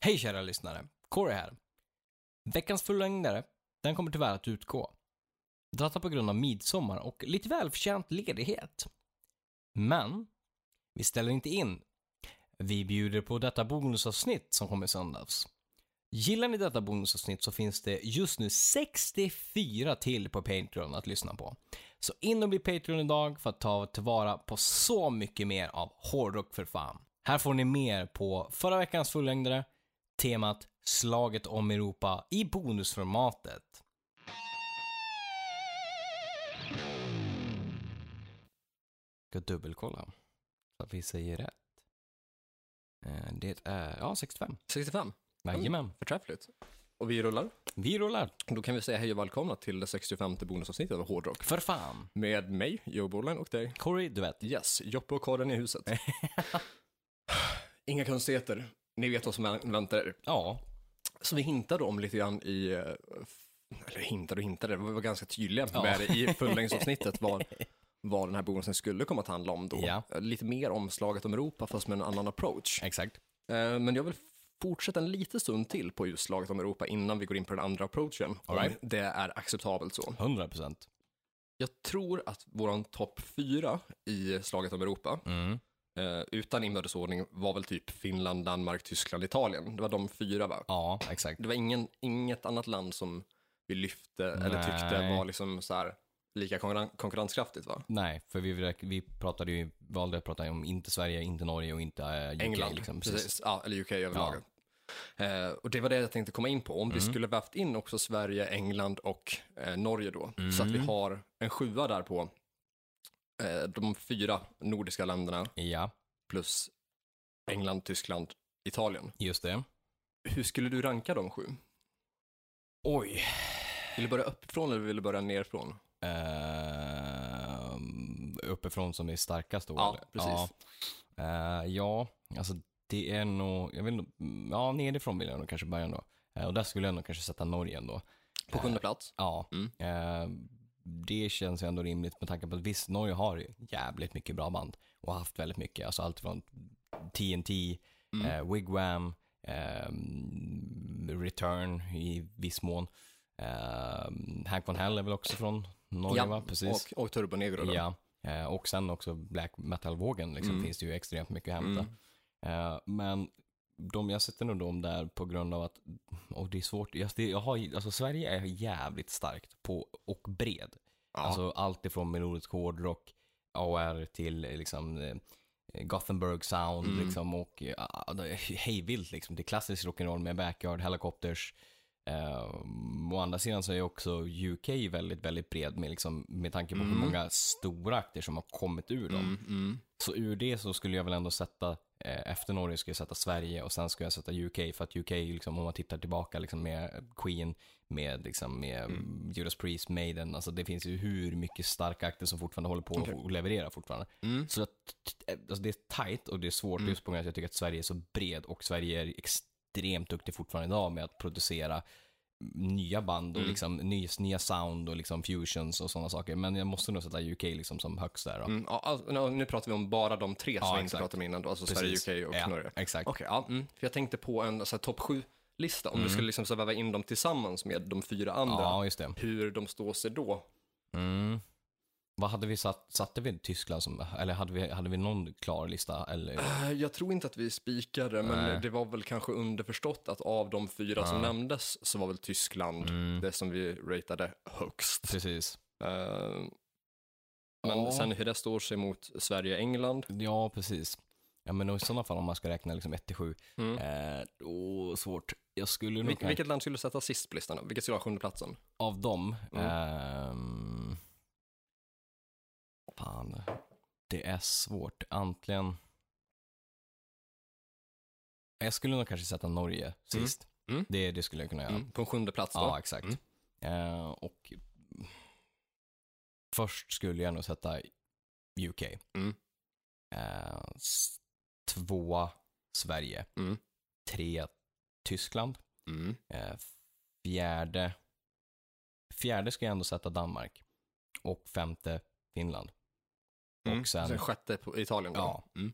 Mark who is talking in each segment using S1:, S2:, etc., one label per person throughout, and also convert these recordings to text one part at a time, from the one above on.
S1: Hej kära lyssnare, Corey här. Veckans förlängdare, den kommer tyvärr att utgå. Detta på grund av midsommar och lite välförtjänt ledighet. Men, vi ställer inte in. Vi bjuder på detta bonusavsnitt som kom i söndags. Gillar ni detta bonusavsnitt så finns det just nu 64 till på Patreon att lyssna på. Så in och bli Patreon idag för att ta tillvara på så mycket mer av hårdrock för fan. Här får ni mer på förra veckans fullängdare, temat Slaget om Europa i bonusformatet. Ska dubbelkolla så att vi säger rätt. Eh, Det är, ja, 65.
S2: 65,
S1: Jajamän.
S2: förträffligt. Och vi rullar.
S1: Vi rullar.
S2: Då kan vi säga hej och välkomna till det 65 bonusavsnittet av Hårdrock.
S1: För fan.
S2: Med mig, Joe Bollen och dig.
S1: Corey, du vet.
S2: Yes, Joppe och Karin i huset. Inga konstigheter. Ni vet vad som vä- väntar er.
S1: Ja.
S2: Så vi hintade om lite grann i... eh, f- Eller hintade och hintade, vi var ganska tydliga
S1: Ja.
S2: med det i fullängdsavsnittet vad, vad den här bonusen skulle komma att handla om då.
S1: Ja.
S2: Eh, Lite mer omslaget om Europa fast med en annan approach.
S1: Exakt.
S2: Eh, Men jag vill fortsätta en liten stund till på just slaget om Europa innan vi går in på den andra approachen.
S1: All right.
S2: Om Det är acceptabelt så.
S1: 100 procent.
S2: Jag tror att våran topp fyra i slaget om Europa,
S1: Mm.
S2: eh, utan inbördesordning, var väl typ Finland, Danmark, Tyskland, Italien. Det var de fyra va?
S1: Ja, exakt.
S2: Det var ingen, inget annat land som vi lyfte eller tyckte
S1: Nej.
S2: var liksom så här lika konkurren- konkurrenskraftigt va?
S1: Nej, för vi, räk- vi pratade ju, valde att prata om inte Sverige, inte Norge och inte eh, UK.
S2: England,
S1: Liksom.
S2: precis.
S1: Precis.
S2: Ja, eller UK överlag. Eh, och det var det jag tänkte komma in på. Om
S1: Mm.
S2: vi skulle vävt in också Sverige, England och eh, Norge då, så att vi
S1: Mm.
S2: har en sjua där på eh, de fyra nordiska länderna
S1: Ja,
S2: plus England, Tyskland, Italien.
S1: just det.
S2: Hur skulle du ranka de sju?
S1: Oj.
S2: Vill du börja uppifrån eller vill du börja nerifrån?
S1: Ehm, uppifrån som är starkast då?
S2: Ja,
S1: eller?
S2: precis.
S1: Ja. Eh, ja, alltså det är nog, jag vill nog, mm, ja nerifrån vill jag nog kanske börja då. Eh, och där skulle jag nog kanske sätta Norge ändå.
S2: På sjunde plats?
S1: Ja.
S2: Mm.
S1: Eh, det känns ju ändå rimligt med tanke på att visst, Norge har ju jävligt mycket bra band och har haft väldigt mycket, alltså allt från TNT,
S2: Mm.
S1: eh, Wigwam, ehm, Return i viss mån. Eh, Hank von Hell är väl också från Norge va? Precis.
S2: Och, och Turbo Negro då.
S1: Ja, eh, och sen också black metal-vågen liksom,
S2: Mm.
S1: finns det ju extremt mycket att hämta. Eh, Men de, jag sätter nog dem där på grund av att, och det är svårt, jag, det, jag har, ju- alltså Sverige är jävligt starkt på, och bred.
S2: Ja.
S1: Alltså allt ifrån melodisk hårdrock, AR till eh, liksom eh, Gothenburg sound
S2: Mm.
S1: liksom och eh, ah, det är hejvilt liksom. Det är klassisk rock'n'roll med backyard, helicopters. Um, å andra sidan så är också UK väldigt, väldigt bred med, liksom, med tanke på hur
S2: Mm.
S1: många stora akter som har kommit ur dem.
S2: mm, mm.
S1: Så ur det så skulle jag väl ändå sätta, eh, efter Norge skulle jag sätta Sverige och sen skulle jag sätta UK. För att UK, liksom, om man tittar tillbaka liksom, med Queen, med, liksom, med
S2: Mm.
S1: Judas Priest, Maiden, alltså det finns ju hur mycket starka akter som fortfarande håller på och-
S2: Okej.
S1: och levererar fortfarande.
S2: Mm.
S1: Så att, eh, alltså, det är tight och det är svårt just på grund av att jag tycker att Sverige är så bred och Sverige är extremt duktig fortfarande idag med att producera nya band
S2: Mm.
S1: och liksom, ny, nya sound och liksom fusions och sådana saker. Men jag måste nog sätta UK liksom som högst där. Då.
S2: Mm, ja, alltså, nu- nu pratar vi om bara de tre som
S1: Ja,
S2: vi inte
S1: exakt.
S2: pratade om innan, då, alltså Sverige, UK och
S1: ja,
S2: Norge.
S1: Exakt.
S2: Okej, ja, mm, för jag tänkte på en så här, topp 7-lista, om du skulle liksom så här, väva in dem tillsammans med de fyra andra,
S1: Mm. Ja, just det.
S2: hur de står sig då.
S1: Mm. Vad hade vi satt, satte vi Tyskland som, eller hade vi, hade vi någon klar lista? Eller?
S2: Eh, Jag tror inte att vi spikade, men
S1: Nej.
S2: det var väl kanske underförstått att av de fyra som nämndes så var väl Tyskland
S1: Mm.
S2: det som vi ratade högst.
S1: Precis.
S2: Eh, men
S1: Ja.
S2: sen hur det står sig mot Sverige och England,
S1: Ja, precis. Ja, men i sådana fall om man ska räkna liksom 1 till 7.
S2: Mm.
S1: Eh, åh, svårt. Jag skulle nog
S2: vilket,
S1: kanske-
S2: vilket land skulle du sätta sist på listan? då? Vilket skulle ha sjunde platsen?
S1: av dem.
S2: Mm.
S1: ehm, fan, det är svårt. Antligen. Jag skulle nog kanske sätta Norge sist.
S2: Mm.
S1: Det, det skulle jag kunna göra.
S2: Mm, på en sjunde plats då?
S1: Ja, exakt.
S2: Mm.
S1: Eh, och först skulle jag nog sätta UK.
S2: Mm.
S1: Eh, s- tvåa Sverige.
S2: Mm.
S1: Tre Tyskland.
S2: Mm.
S1: Eh, fjärde fjärde ska jag ändå sätta Danmark. Och femte Finland. Och sen-
S2: sjätte Mm. på Italien då?
S1: Ja.
S2: Mm.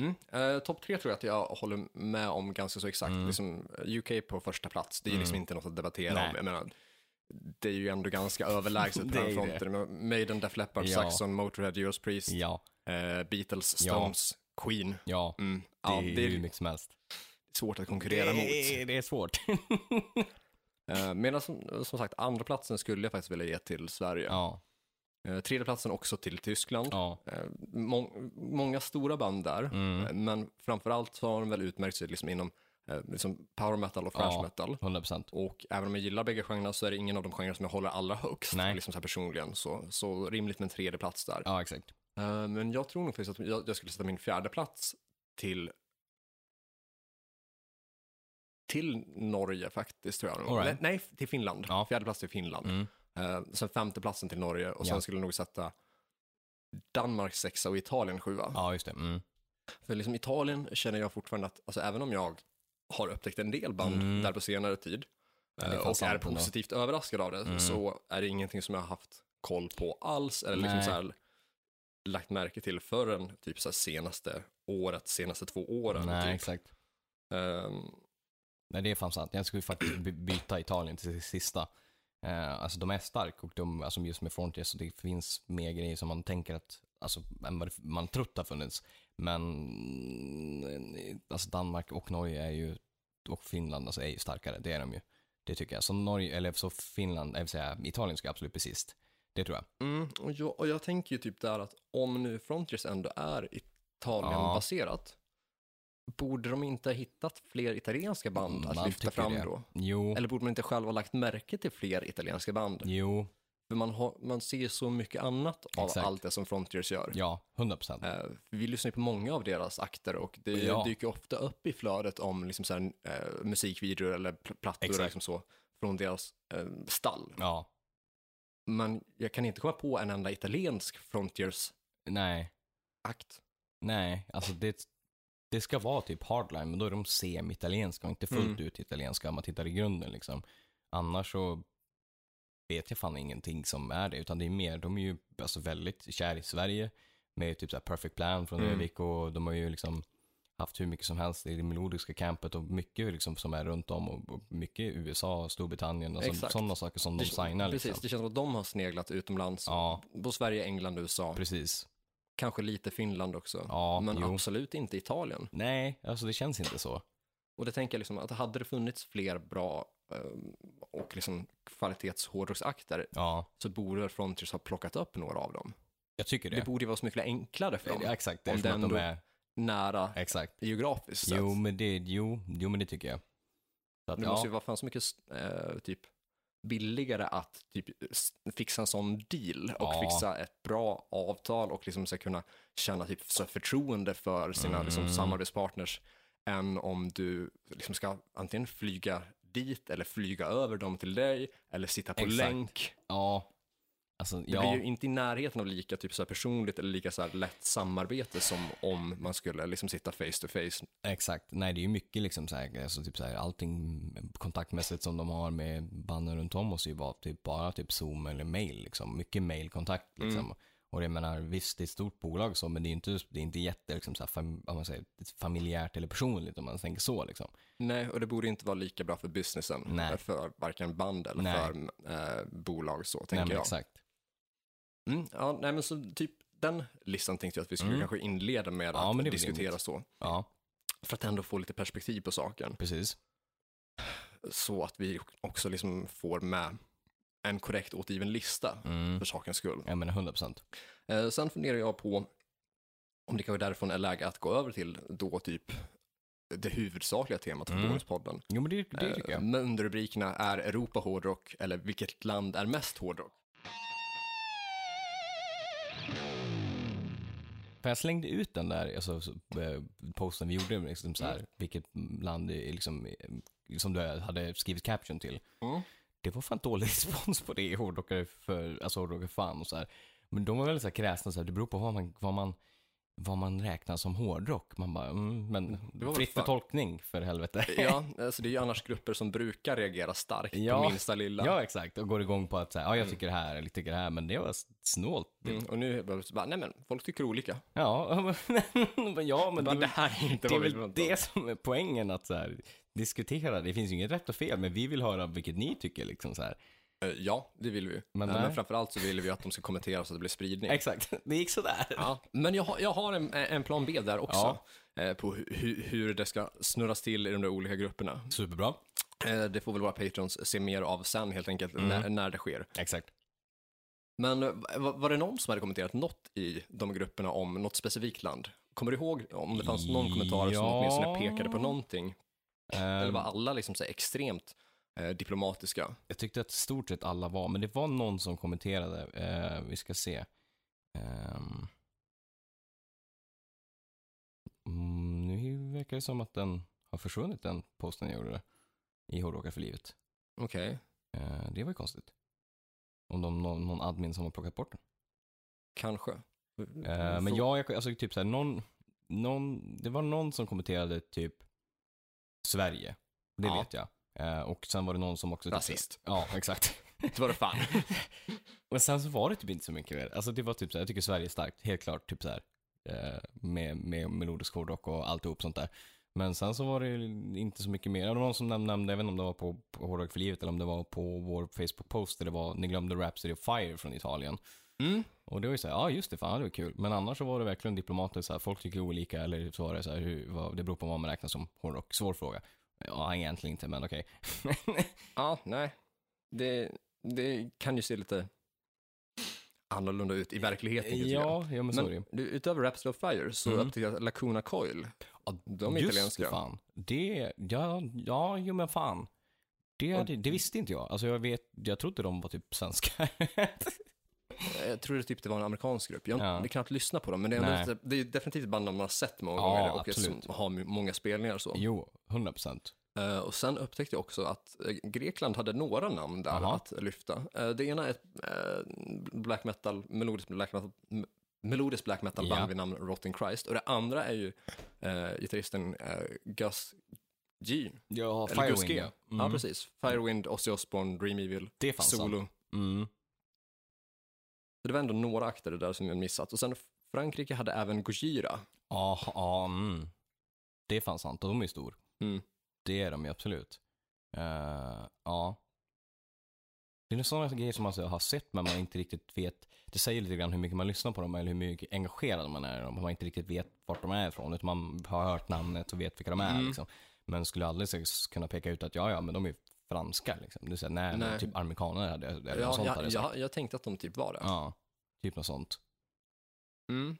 S2: Mm. Eh, Topp tre tror jag att jag håller med om ganska så exakt.
S1: Mm.
S2: Liksom, UK på första plats, det är ju liksom
S1: Mm.
S2: inte något att debattera
S1: Nej.
S2: om. Jag menar, det är ju ändå ganska överlägset på
S1: Det är
S2: den
S1: ju
S2: fronten. Men Maiden, Def Leppard,
S1: Ja.
S2: Saxon, Motörhead, Judas Priest,
S1: Ja,
S2: eh, Beatles,
S1: Ja.
S2: Stones, Queen.
S1: ja.
S2: Mm.
S1: Det
S2: Ja,
S1: är
S2: det
S1: hur
S2: är
S1: mycket som helst.
S2: svårt att konkurrera mot.
S1: är, det är svårt.
S2: Eh, medan som, som sagt, andra platsen skulle jag faktiskt vilja ge till Sverige.
S1: ja,
S2: Eh, tredje platsen också till Tyskland.
S1: ja.
S2: Eh, mång- många stora band där,
S1: Mm.
S2: eh, men framförallt så har de väl utmärkt sig liksom inom eh, liksom power metal och thrash
S1: Ja.
S2: metal.
S1: 100 procent.
S2: Och även om jag gillar bägge genrerna så är det ingen av de genrerna som jag håller allra högst,
S1: Nej.
S2: liksom så här personligen. Så, så rimligt med en tredje plats där.
S1: Ja, exakt.
S2: Eh, men jag tror nog faktiskt att jag, jag skulle sätta min fjärde plats till till Norge faktiskt tror jag.
S1: All right.
S2: Nej, nej, till Finland.
S1: Ja.
S2: Fjärde plats till Finland.
S1: Mm.
S2: Eh, sen femte platsen till Norge och sen
S1: Ja.
S2: skulle jag nog sätta Danmark sexa och Italien sjua.
S1: Ja, just det. Mm.
S2: För liksom Italien känner jag fortfarande att, alltså även om jag har upptäckt en del band
S1: Mm.
S2: där på senare tid
S1: Ja, det är
S2: eh,
S1: fan
S2: och är
S1: sant ändå.
S2: positivt överraskad av det,
S1: Mm.
S2: så är det ingenting som jag har haft koll på alls eller liksom
S1: Nej.
S2: så här, lagt märke till förrän typ så här senaste året, senaste två åren.
S1: Nej,
S2: typ.
S1: exakt.
S2: Ehm,
S1: Nej, det är fan sant. Jag skulle faktiskt by- byta Italien till det sista. Eh, alltså de är stark och de, alltså just med Frontier, så det finns mer grejer som man tänker att, alltså än vad det- man trott har funnits. Men, mm, alltså Danmark och Norge är ju, och Finland alltså är ju starkare, det är de ju. Det tycker jag. Så Norge, eller så Finland, jag vill säga Italien ska absolut bli sist. Det tror jag.
S2: mm, och, jag, och jag tänker ju typ där att om nu Frontiers ändå är Italienbaserat, borde de inte ha hittat fler italienska band att
S1: Mm, Man
S2: lyfta
S1: tycker
S2: fram
S1: det.
S2: då?
S1: Jo,
S2: Eller borde man inte själv ha lagt märke till fler italienska band?
S1: jo,
S2: För man, har, man ser ju så mycket annat av
S1: Exakt.
S2: allt det som Frontiers gör.
S1: ja, 100 procent.
S2: Eh, vi lyssnar ju på många av deras akter och det
S1: Ja.
S2: dyker ofta upp i flödet om liksom så här, eh, musikvideor eller pl- plattor
S1: Exakt.
S2: eller liksom så, från deras eh, stall.
S1: Ja,
S2: Men jag kan inte komma på en enda italiensk Frontiers-akt.
S1: nej. Nej, alltså det, det ska vara typ hardline, men då är de semi-italienska och inte fullt
S2: Mm.
S1: ut italienska om man tittar i grunden liksom. Annars så vet jag fan ingenting som är det, utan det är mer, de är ju alltså väldigt kär i Sverige med typ så här Perfect Plan från
S2: Mm.
S1: Ö-vik och de har ju liksom haft hur mycket som helst i det melodiska campet och mycket liksom som är runt om och och mycket i USA och Storbritannien och
S2: Exakt.
S1: sådana saker som de signar liksom.
S2: Precis, det känns som att de har sneglat utomlands.
S1: Ja,
S2: På Sverige, England, USA.
S1: precis.
S2: Kanske lite Finland också.
S1: Ja,
S2: men
S1: jo.
S2: absolut inte Italien.
S1: Nej, alltså det känns inte så.
S2: Och det tänker jag liksom att hade det funnits fler bra eh, och liksom kvalitetshårdrocksakter
S1: Ja,
S2: så borde Frontiers ha plockat upp några av dem.
S1: jag tycker
S2: Det,
S1: det.
S2: borde ju vara så mycket enklare för dem,
S1: Ja, exakt, det är
S2: Om
S1: som
S2: det
S1: att de
S2: ändå-
S1: är,
S2: nära
S1: exakt.
S2: geografiskt sett.
S1: Jo men, det, jo, jo, men det tycker jag. Så att,
S2: Det
S1: ja,
S2: måste ju vara fan så mycket eh, typ billigare att typ s- fixa en sån deal och
S1: Ja.
S2: fixa ett bra avtal och liksom så här kunna känna typ så här förtroende för sina liksom,
S1: Mm.
S2: samarbetspartners än om du liksom ska antingen flyga dit eller flyga över dem till dig eller sitta på
S1: Exakt.
S2: länk.
S1: ja, alltså,
S2: Det blir
S1: ja,
S2: ju inte i närheten av lika typ så här personligt eller lika så här lätt samarbete som om man skulle liksom sitta face to face.
S1: exakt. Nej, det är ju mycket liksom så här, alltså, typ så här, allting kontaktmässigt som de har med banden runt om måste ju vara typ bara typ Zoom eller mail liksom. Mycket mailkontakt
S2: Mm.
S1: liksom. Och det menar, visst det är ett stort bolag så, men det är ju inte, det är inte jätte, liksom, så här, fam, om man säger, familjärt eller personligt om man tänker så liksom.
S2: Nej, och det borde inte vara lika bra för businessen,
S1: Nej.
S2: eh, för varken band eller
S1: Nej.
S2: för eh, bolag så,
S1: Nej,
S2: tänker
S1: men
S2: jag.
S1: Exakt.
S2: Mm, ja, nej, men så typ den listan tänkte jag att vi skulle
S1: Mm.
S2: kanske inleda med
S1: Ja, men
S2: att
S1: det är väl
S2: diskutera
S1: rimligt.
S2: så,
S1: Ja,
S2: för att ändå få lite perspektiv på saken,
S1: precis.
S2: så att vi också liksom får med en korrekt återgiven lista
S1: Mm.
S2: för sakens skull.
S1: Jag menar 100 procent.
S2: Eh, sen funderar jag på om det kanske därifrån är läge att gå över till då typ det huvudsakliga temat för
S1: Mm.
S2: bonuspodden.
S1: Jo, men det, det tycker
S2: Eh,
S1: jag.
S2: Men underrubrikerna är Europa hårdrock eller vilket land är mest hårdrock?
S1: För jag slängde ut den där alltså, så, eh, posten vi gjorde, liksom så här,
S2: Mm.
S1: vilket land det är liksom, eh, som du hade skrivit caption till.
S2: Mm.
S1: Det var fan dålig respons på det i hårdrockare för, alltså hårdrockare fan och så här. Men de var väldigt så här kräsna, så här, det beror på vad man, vad man vad man räknar som hårdrock. Man bara, mm, men
S2: Det var väl
S1: fritt för
S2: fan-
S1: tolkning för helvete.
S2: Ja, alltså det är ju annars grupper som brukar reagera starkt
S1: Ja.
S2: på minsta lilla.
S1: Ja, exakt. Och går igång på att säga, ja, jag tycker det här, eller tycker det här, men det var snålt.
S2: Mm, och nu är det bara så bara, nej men folk tycker olika.
S1: Ja, men- men ja, men
S2: Bara,
S1: det-
S2: det här är inte
S1: Det är
S2: vad vi
S1: väl
S2: förväntar
S1: det
S2: oss.
S1: som är poängen att så här, diskutera. Det finns ju inget rätt och fel, men vi vill höra vilket ni tycker liksom så här.
S2: Eh, Ja, det vill vi ju. Eh,
S1: Men
S2: Men,
S1: nej.
S2: men framförallt så vill vi ju att de ska kommentera så att det blir spridning.
S1: Exakt, det gick sådär.
S2: Ja, men jag, har- jag har en, eh, en plan B där också. eh, På hu, hu- hur det ska snurras till i de där olika grupperna.
S1: Superbra.
S2: Eh, Det får väl våra patrons se mer av sen helt enkelt,
S1: Mm.
S2: när, när det sker.
S1: Exakt.
S2: Men eh, va- var det någon som hade kommenterat något i de grupperna om något specifikt land? Kommer du ihåg om det fanns någon kommentar som
S1: Ja.
S2: åtminstone pekade på någonting?
S1: Ehm,
S2: Eller var alla liksom så här extremt eh, diplomatiska?
S1: Jag tyckte att stort sett alla var, men det var någon som kommenterade. Eh, vi ska se. Ehm. Mm, nu verkar det som att den har försvunnit, den posten jag gjorde där, i Hårdrockar för livet.
S2: Okej.
S1: Eh, det var ju konstigt. Om de, någon, någon admin som har plockat bort den.
S2: Kanske. Mm,
S1: Eh, men jag, jag, alltså typ såhär, någon, någon, det var någon som kommenterade typ Sverige. Det
S2: Ja.
S1: vet jag. Eh, och sen var det någon som också... typ-
S2: Rasist.
S1: Ja, exakt.
S2: Det var det fan.
S1: Men sen så var det typ inte så mycket mer. Alltså det var typ såhär, jag tycker Sverige är starkt, helt klart, typ såhär. Eh, med, med melodisk hårdrock och alltihop sånt där. Men sen så var det ju inte så mycket mer. Det var någon som näm- nämnde, jag vet inte om det var på, på Hårdrock för livet eller om det var på vår Facebook-post där det var, ni glömde Rhapsody of Fire från Italien.
S2: Mm.
S1: Och det var ju såhär, ja ah, just det, fan det var kul. Men annars så var det verkligen diplomatiskt såhär, folk tycker olika eller så var det såhär, hur, vad, det beror på vad man räknar som hårdrock. Svår fråga. Ja, egentligen inte, men okej.
S2: Ja, nej. Det, det kan ju se lite annorlunda ut i verkligheten. tycker jag.
S1: ja, ja, men så är det ju.
S2: Men du, utöver Rhapsody of Fire så
S1: Mm.
S2: upptäckte jag att Lacuna Coil, de är
S1: Just
S2: italienska.
S1: det, fan. Det, ja, ja, jo men fan. Det,
S2: Och-
S1: hade- det visste inte jag. Alltså jag vet, jag trodde de var typ svenskar.
S2: Jag tror det typ det var en amerikansk grupp. Jag
S1: Ja.
S2: har knappt lyssnat på dem, men det är,
S1: Nej.
S2: ändå, det är definitivt ett band man har sett många
S1: Ja,
S2: gånger och
S1: absolut.
S2: som har många spelningar och så.
S1: jo, 100 procent.
S2: Eh, och sen upptäckte jag också att eh, Grekland hade några namn där
S1: Jaha.
S2: att lyfta. Eh, det ena är ett eh, black metal, melodiskt black metal, m- melodiskt black metal band
S1: Ja.
S2: vid namn Rotten Christ. Och det andra är ju eh, gitarristen eh, Gus G.
S1: Ja,
S2: Eller Gus
S1: Firewing.
S2: G.
S1: Ja, mm.
S2: Ja, precis. Firewind, Ozzy Osbourne, Dream Evil,
S1: Det fanns han.
S2: Solo.
S1: Mm.
S2: Så det var ändå några akter där som jag missat. Och sen Frankrike hade även Gojira.
S1: Ja, ja, mm. Det är fan sant, och de är ju stor.
S2: Mm.
S1: Det är de ju absolut. Eh, ja. Det är sådana grejer som man så har sett men man inte riktigt vet. Det säger lite grann hur mycket man lyssnar på dem eller hur mycket engagerad man är i dem. Man inte riktigt vet vart de är ifrån. Utan man har hört namnet och vet vilka de är.
S2: Mm.
S1: Liksom. Men skulle aldrig så- kunna peka ut att ja, ja, men de är franska. Liksom. Du säger nej, men
S2: Nej.
S1: typ amerikaner hade jag- eller något
S2: Ja,
S1: sånt. hade
S2: jag,
S1: jag sagt.
S2: jag, jag tänkte att de typ var det.
S1: Ja, typ något sånt.
S2: Mm.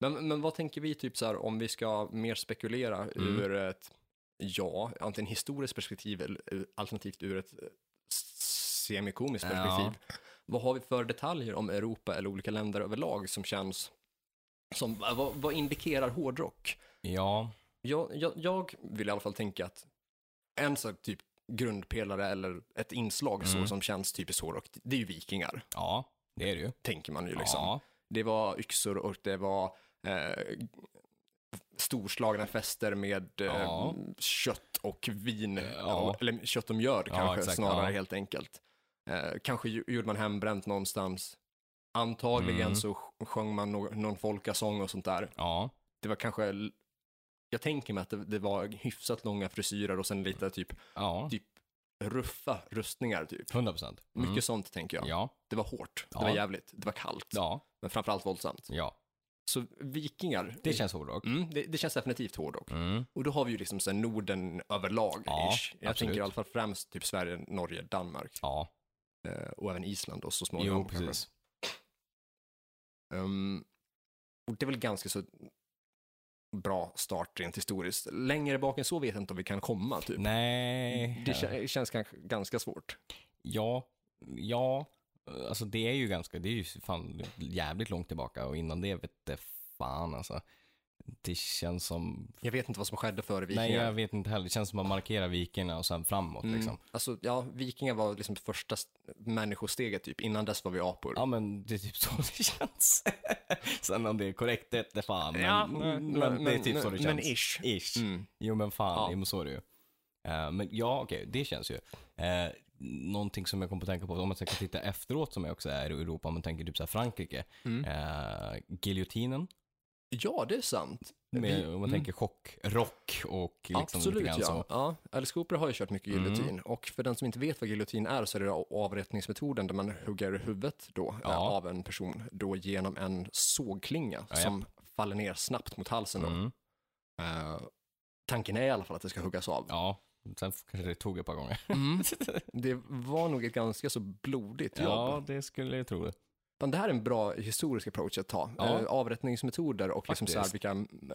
S2: Men, men vad tänker vi typ så här om vi ska mer spekulera
S1: Mm.
S2: ur ett, ja, antingen historiskt perspektiv eller eh, alternativt ur ett eh, semikomiskt perspektiv. Vad har vi för detaljer om Europa eller olika länder överlag som känns som, va- vad, vad indikerar hårdrock?
S1: Ja,
S2: Jag, jag, jag vill i alla fall tänka att en sån typ grundpelare eller ett inslag
S1: Mm.
S2: så som känns typiskt hårdrock, det är ju vikingar,
S1: ja, det är det ju.
S2: tänker man ju liksom.
S1: Ja,
S2: Det var yxor och det var eh, storslagna fester med eh,
S1: Ja.
S2: kött och vin,
S1: Ja.
S2: eller kött och mjöd
S1: Ja,
S2: kanske
S1: exakt,
S2: snarare
S1: ja.
S2: helt enkelt. Eh, kanske ju- gjorde man hembränt någonstans. Antagligen
S1: Mm.
S2: så sj- sjöng man no- någon folkasång och sånt där.
S1: ja,
S2: Det var kanske, l- jag tänker mig att det, det var hyfsat långa frisyrer och sen lite typ
S1: ja.
S2: Typ- ruffa rustningar typ.
S1: 100 procent.
S2: Mycket sånt tänker jag.
S1: Mm. Ja,
S2: Det var hårt,
S1: Ja.
S2: det var jävligt, det var kallt,
S1: ja,
S2: men framförallt våldsamt.
S1: ja.
S2: Så vikingar,
S1: Det känns hårdrock.
S2: Mm, det, det känns definitivt hårdrock.
S1: Mm.
S2: Och då har vi ju liksom så här Norden överlag.
S1: Ja,
S2: ish. Jag
S1: absolut.
S2: tänker i alla fall främst typ Sverige, Norge, Danmark
S1: Ja,
S2: eh, och även Island och så småningom.
S1: jo,
S2: kanske.
S1: precis.
S2: Ehm, och det är väl ganska så bra start rent historiskt. Längre bak än så vet jag inte om vi kan komma. Typ. Mm.
S1: Nej.
S2: Det kä- känns kanske ganska svårt.
S1: Ja, ja. Alltså det är ju ganska, det är ju fan jävligt långt tillbaka och innan det vet det fan alltså. Det känns som...
S2: Jag vet inte vad som skedde före vikingar.
S1: Nej, jag vet inte heller. Det känns som att markera vikingarna och sen framåt
S2: Mm.
S1: liksom.
S2: Alltså, ja, vikingar var liksom första st- människosteget typ. Innan dess var vi apor.
S1: Ja, men det är typ så det känns. sen om det är korrekt, det vete fan. Men,
S2: Ja,
S1: men,
S2: men-
S1: det är typ
S2: men-
S1: så det känns.
S2: men ish.
S1: Ish.
S2: Mm.
S1: Jo, men fan,
S2: Ja.
S1: jo, men så är det ju. Eh, men ja, okej, det känns ju. Uh, någonting som jag kom på att tänka på, om man ska titta efteråt som jag också är i Europa, om man tänker typ så här Frankrike.
S2: Mm.
S1: Eh, giljotinen,
S2: Ja, det är sant.
S1: med,
S2: Vi- mm.
S1: om man tänker chockrock och liksom lite
S2: Absolut,
S1: grann
S2: ja.
S1: så. Mm.
S2: ja. Alice Cooper har ju kört mycket giljotin. Och för den som inte vet vad giljotin är så är det avrättningsmetoden där man hugger huvudet då,
S1: Ja.
S2: eh, av en person då genom en sågklinga
S1: Ja, ja.
S2: som faller ner snabbt mot halsen. Då.
S1: Mm.
S2: Eh, tanken är i alla fall att det ska huggas av.
S1: Ja, sen f- kanske det tog ett par gånger.
S2: Mm. Det var nog ett ganska så blodigt jobb.
S1: ja, det skulle jag tro.
S2: Men det här är en bra historisk approach att ta.
S1: Ja.
S2: Eh, avrättningsmetoder och liksom så här
S1: Faktiskt.
S2: vilka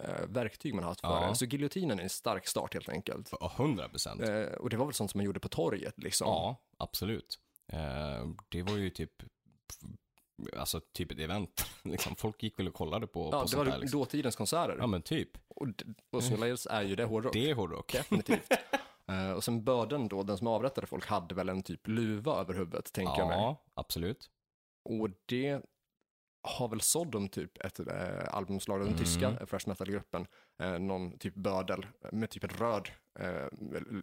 S2: eh, verktyg man har haft för
S1: Ja.
S2: det. Så giljotinen är en stark start helt enkelt.
S1: Ja, 100 procent.
S2: Eh, och det var väl sånt som man gjorde på torget liksom.
S1: Ja, absolut. Eh, det var ju typ, alltså typ ett event. liksom, folk gick väl och kollade på,
S2: Ja,
S1: på
S2: det
S1: sånt
S2: var
S1: där. Liksom.
S2: dåtidens konserter.
S1: Ja, men typ.
S2: Och, d- och som Layers är ju det hårdrock.
S1: Det är hårdrock.
S2: Definitivt. Eh, och sen börden då, den som avrättade folk, hade väl en typ luva över huvudet, tänker jag mig.
S1: Ja, absolut.
S2: Och det har väl Sodom typ ett eh, albumslag, den
S1: Mm.
S2: tyska fresh metal-gruppen, eh, någon typ bödel med typ en röd eh,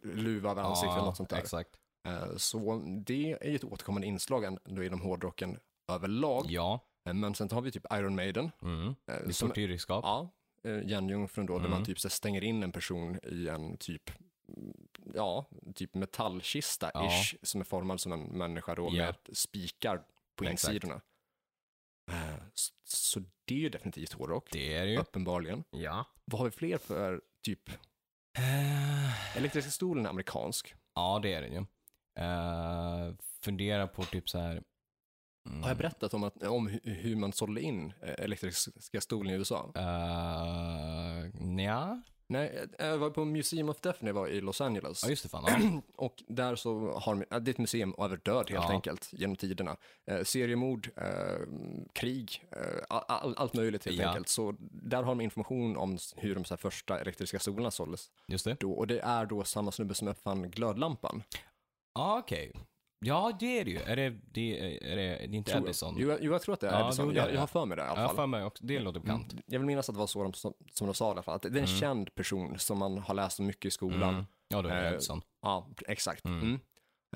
S2: luva över ansiktet eller något sånt där.
S1: Exakt.
S2: Eh, så det är ju ett återkommande inslag ändå inom hårdrocken överlag.
S1: Ja.
S2: Eh, Men sen har vi typ Iron Maiden.
S1: Mm.
S2: eh,
S1: Det är
S2: som-
S1: tortyrredskap.
S2: Ja, eh, järnjungfrun då, där
S1: Mm.
S2: man typ så här stänger in en person i en typ, mm, ja, typ metallkista-ish, som är formad som en människa då
S1: Ja.
S2: med spikar på
S1: Exakt.
S2: insidorna. Eh, s- Så det är ju definitivt hårdrock,
S1: Det är det ju.
S2: uppenbarligen.
S1: Ja.
S2: Vad har vi fler för typ, elektriska stolen är amerikansk.
S1: Eh, Ja, det är det ju. Eh, fundera på typ så här. Mm.
S2: Har jag berättat om, att, om hu- hur man sålde in eh, elektriska stolen i USA?
S1: Eh, ja.
S2: Nej, eh, jag var på Museum of Death när jag var i Los Angeles.
S1: ja, just det fan. Ja.
S2: Och där så har de, ja, det är ett museum över död helt
S1: Ja.
S2: enkelt, genom tiderna. Eh, seriemord, eh, krig, eh, all, all, allt möjligt helt
S1: Ja.
S2: enkelt. Så där har de information om s- hur de så här första elektriska stolarna såldes.
S1: Just det.
S2: Då, och det är då samma snubbe som uppfann glödlampan.
S1: Ja, okej. Ja, det är det ju. Är det, det, är det, det är inte
S2: tror jag.
S1: Edison?
S2: Jo, jag- jo, jag tror att det är
S1: Ja,
S2: Edison.
S1: jo, det är
S2: jag,
S1: det.
S2: jag har för mig det i
S1: Ja,
S2: alla
S1: jag för
S2: fall. Mm.
S1: mig också. Det låter bekant.
S2: Jag vill minnas att det var så de, som, som de sa i alla fall. Att det är en känd person som man har läst om mycket i skolan.
S1: Mm. Ja, då är det
S2: Eh,
S1: Edison.
S2: Ja, exakt. Mm.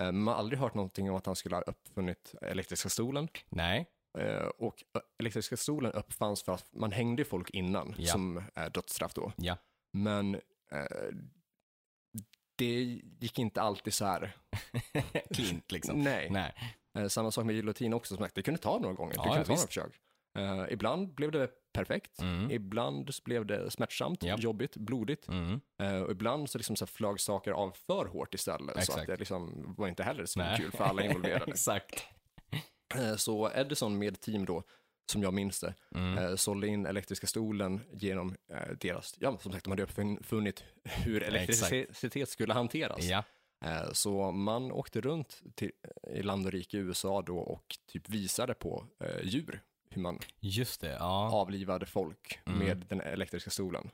S2: Eh, Man har aldrig hört någonting om att han skulle ha uppfunnit elektriska stolen.
S1: Nej.
S2: Eh, och ö- elektriska stolen uppfanns för att man hängde folk innan
S1: Ja.
S2: som eh, dödsstraff då.
S1: Ja.
S2: Men eh, det gick inte alltid så här.
S1: Klint liksom.
S2: Nej.
S1: Nej.
S2: Eh, samma sak med giljotin också, som sagt, det kunde ta några gånger.
S1: Ja,
S2: det kunde
S1: ja,
S2: ta några
S1: visst.
S2: försök. Eh, ibland blev det perfekt.
S1: Mm.
S2: Ibland så blev det smärtsamt,
S1: Ja.
S2: jobbigt, blodigt.
S1: Mm.
S2: Eh, och ibland så, liksom så här flög saker av för hårt istället. Så
S1: Exakt.
S2: att det liksom var inte heller så
S1: Nej.
S2: kul för alla involverade.
S1: Exakt.
S2: Eh, Så Edison med team då, som jag minns det,
S1: Mm.
S2: eh, sålde in elektriska stolen genom eh, deras, ja som sagt de hade uppfunnit hur elektricitet skulle hanteras.
S1: Ja.
S2: Eh, Så man åkte runt till, i land och rike i USA då och typ visade på eh, djur, hur man
S1: Just det. Ja.
S2: avlivade folk
S1: Mm.
S2: med den elektriska stolen.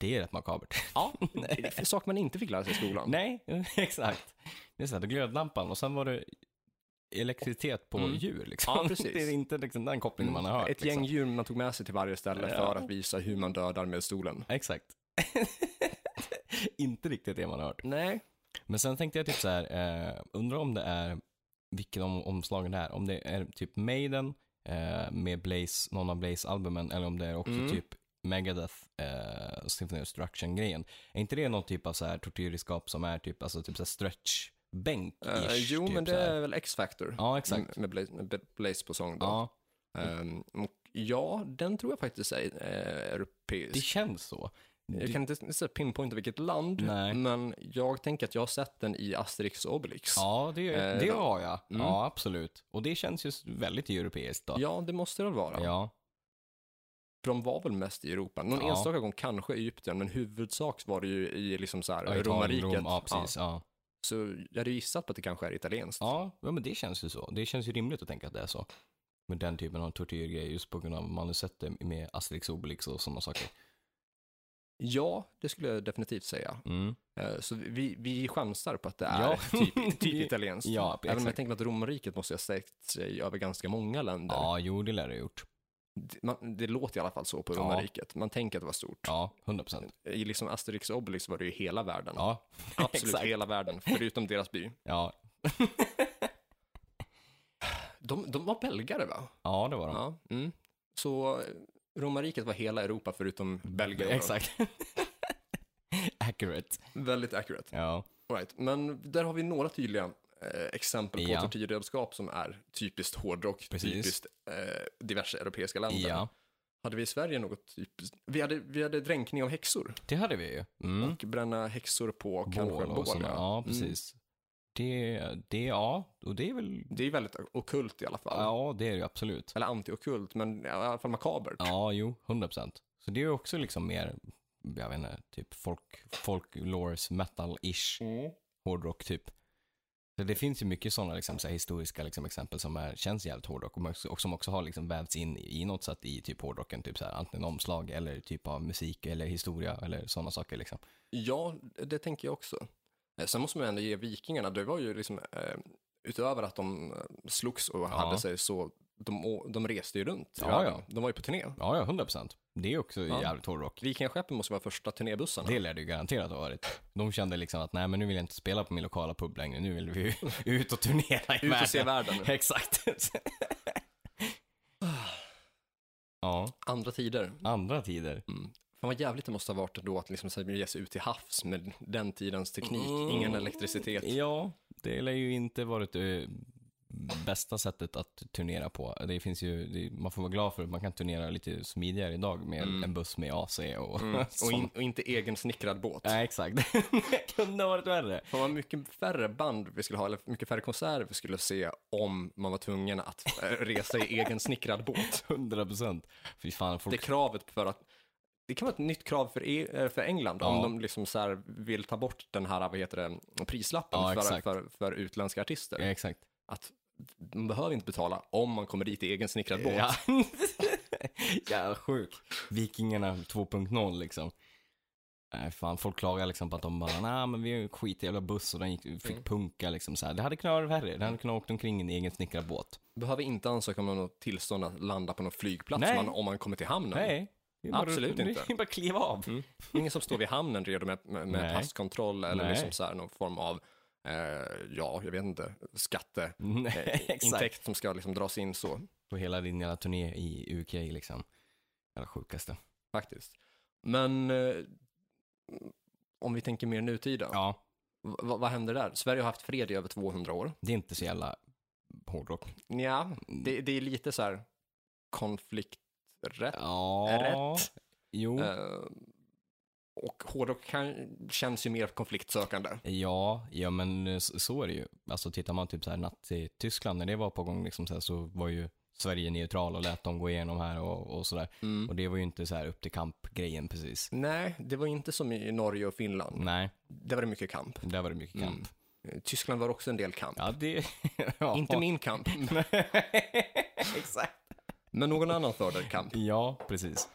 S1: Det är rätt makabert.
S2: Ja, sak man inte fick lära sig i skolan.
S1: Nej, exakt. Det är så här, det är glödlampan och sen var det elektricitet på
S2: Mm.
S1: djur liksom.
S2: Ja, precis. Mm.
S1: Det är inte liksom den kopplingen man har hört.
S2: Ett gäng
S1: Liksom.
S2: djur man tog med sig till varje ställe
S1: Ja.
S2: för att visa hur man dödar med stolen.
S1: Exakt. inte riktigt det man har hört.
S2: Nej.
S1: Men sen tänkte jag typ så här, eh, undrar om det är, vilken om, omslagen det är. Om det är typ Maiden eh, med Blaze, någon av Blaze-albumen, eller om det är också
S2: Mm.
S1: typ Megadeth, eh, Symphony of Destruction-grejen. Är inte det någon typ av så här tortyrredskap som är typ, alltså typ så här stretchbänk
S2: Eh, jo,
S1: typ
S2: men det
S1: så här?
S2: är Mm, väl X-Factor.
S1: Ja, exakt.
S2: Med Blaze, med Blaze på sång då.
S1: Ja,
S2: Ehm, och ja, den tror jag faktiskt är eh, europeisk.
S1: det känns så.
S2: jag
S1: Det-
S2: kan inte så här pinpointa vilket land,
S1: Nej.
S2: men jag tänker att jag har sett den i Asterix och Obelix.
S1: Ja, det,
S2: Eh,
S1: det
S2: då-
S1: har jag.
S2: Mm.
S1: Ja, absolut. Och det känns ju s- väldigt europeiskt då.
S2: Ja, det måste det väl vara.
S1: ja.
S2: För de var väl mest i Europa. Någon
S1: Ja.
S2: enstaka gång kanske Egypten, men huvudsak var det ju i liksom så här,
S1: Ja, Italien,
S2: romarriket.
S1: Rom, ja, precis. Ja.
S2: Så jag hade gissat på att det kanske är italienskt.
S1: Ja, ja, men det känns ju så. Det känns ju rimligt att tänka att det är så. Med den typen av tortyrgrej, just på grund av att man har sett det med Asterix och Obelix och sådana saker.
S2: Ja, det skulle jag definitivt säga.
S1: Mm.
S2: Eh, Så vi, vi chansar på att det är
S1: Ja.
S2: typ, typ italienskt.
S1: Ja,
S2: Även om jag
S1: exakt.
S2: tänker att romarriket måste ha sträckt sig över ganska många länder.
S1: Ja, jo, det lär det ha gjort.
S2: Det- Man, det låter i alla fall så på
S1: Ja.
S2: romarriket. Man tänker att det var stort.
S1: Ja, 100 procent.
S2: I liksom Asterix och Obelix var det ju hela världen.
S1: Ja,
S2: Absolut
S1: exakt.
S2: hela världen, förutom deras by.
S1: ja.
S2: De, de var belgare va?
S1: ja, det var de.
S2: Ja. Mm. Så eh, romarriket var hela Europa förutom Belgien. då.
S1: Exakt. Accurate.
S2: Väldigt accurate.
S1: Ja.
S2: All Right. Men där har vi några tydliga eh, exempel på
S1: Ja.
S2: tortyrredskap som är typiskt hårdrock,
S1: Precis.
S2: typiskt eh, diverse europeiska länder.
S1: ja,
S2: Hade vi i Sverige något typiskt? Vi hade, vi hade dränkning av häxor
S1: det hade vi ju. Mm.
S2: och bränna häxor på kanske
S1: Bål
S2: en
S1: och
S2: bål. Mm.
S1: sådana. Ja, Mm. precis. Det, det, ja, och det är väl,
S2: Mm. Det är väldigt okult i alla fall.
S1: ja, det är det ju absolut.
S2: Eller antiokult, men i alla fall makabert.
S1: Ja, jo, 100 procent. Så det är ju också liksom mer, jag vet inte, typ folk, folklores, metal-ish,
S2: Mm.
S1: hårdrock typ. Så det finns ju mycket sådana liksom, så här historiska liksom, exempel som är, känns jävligt hårdrock och, också- och som också har liksom, vävts in i något sätt i typ hårdrocken, typ så här, antingen omslag eller typ av musik eller historia eller sådana saker liksom.
S2: Ja, det tänker jag också. Eh, Sen måste man ändå ge vikingarna, det var ju liksom, eh, utöver att de eh, slogs och hade sig så, de, å- de reste ju runt. i
S1: Ja,
S2: världen.
S1: ja.
S2: De var ju på turné.
S1: Ja, ja, 100 procent. Det är också
S2: Ja.
S1: jävligt hårdrock.
S2: Vikingaskeppen måste vara första turnébussarna.
S1: Det lär det ju garanterat ha varit. De kände liksom att nej, men nu vill jag inte spela på min lokala pub längre. Nu vill vi ju ut och turnera i
S2: Ut och se världen.
S1: Exakt. ja,
S2: Andra tider.
S1: andra tider.
S2: Fan vad jävligt det måste ha varit då att liksom så här ge sig ut till havs med den tidens teknik.
S1: Mm.
S2: Ingen elektricitet.
S1: Ja, det lär ju inte varit det bästa sättet att turnera på. Det finns ju, det, man får vara glad för att man kan turnera lite smidigare idag med en buss med AC och
S2: Mm. Och,
S1: sånt.
S2: in, och inte egen snickrad båt.
S1: Nej, exakt. det kunde ha varit värre.
S2: Fan vad mycket färre band vi skulle ha, eller mycket färre konserter vi skulle se om man var tvungen att eh, resa i egen snickrad båt.
S1: 100 procent. Fy fan, folk
S2: det kravet för att det kan vara ett nytt krav för, E- eh, för England
S1: Ja.
S2: om de liksom så här vill ta bort den här, vad heter det, prislappen
S1: Ja,
S2: för,
S1: exakt.
S2: för, för utländska artister.
S1: Ja, exakt.
S2: Att man behöver inte betala om man kommer dit i egen snickrad båt.
S1: Ja. Jävla sjuk. Vikingarna 2.0 liksom. Nej, fan, folk klagar liksom på att de bara, nej men vi har ju en skitjävla buss och den gick, fick
S2: Mm.
S1: punka liksom så här. Det hade kunnat vara värre, den hade kunnat åkt omkring i en egen snickrad båt.
S2: Behöver inte ansöka om något tillstånd att landa på någon flygplats
S1: Nej.
S2: man, om man kommer till hamnen.
S1: Nej, det är bara-
S2: Absolut
S1: det är
S2: inte. Mm.
S1: bara att kliva av.
S2: Ingen som står vid hamnen redo med, med, med
S1: Nej.
S2: passkontroll eller
S1: Nej.
S2: liksom så här någon form av, eh, ja, jag vet inte, Eh,
S1: Nej, exakt.
S2: skatteintäkt som ska liksom dras in så.
S1: På hela din jävla turné i UK liksom. Jävla sjukaste.
S2: faktiskt. Men eh, om vi tänker mer nutida,
S1: Ja,
S2: v- vad- vad händer där? Sverige har haft fred i över 200 år.
S1: det är inte så jävla hårdrock.
S2: Ja,
S1: Mm.
S2: det, det är lite så här konflikträtt.
S1: Ja.
S2: Rätt.
S1: Jo.
S2: Eh, och hårdrock kan, känns ju mer konfliktsökande.
S1: Ja, ja men eh, s- så är det ju. Alltså tittar man typ så här natt i Tyskland när det var på gång liksom så, här, så var ju Sverige neutral och lät dem gå igenom här och, och sådär. Och det var ju inte så här upp till kamp-grejen precis.
S2: Nej, det var inte som i Norge och Finland.
S1: Nej,
S2: Där var det mycket kamp.
S1: där var det mycket kamp.
S2: Eh, Tyskland var också en del kamp.
S1: Ja, det... ja.
S2: Inte min kamp,
S1: Exakt.
S2: men någon annan förde kamp.
S1: Ja, precis.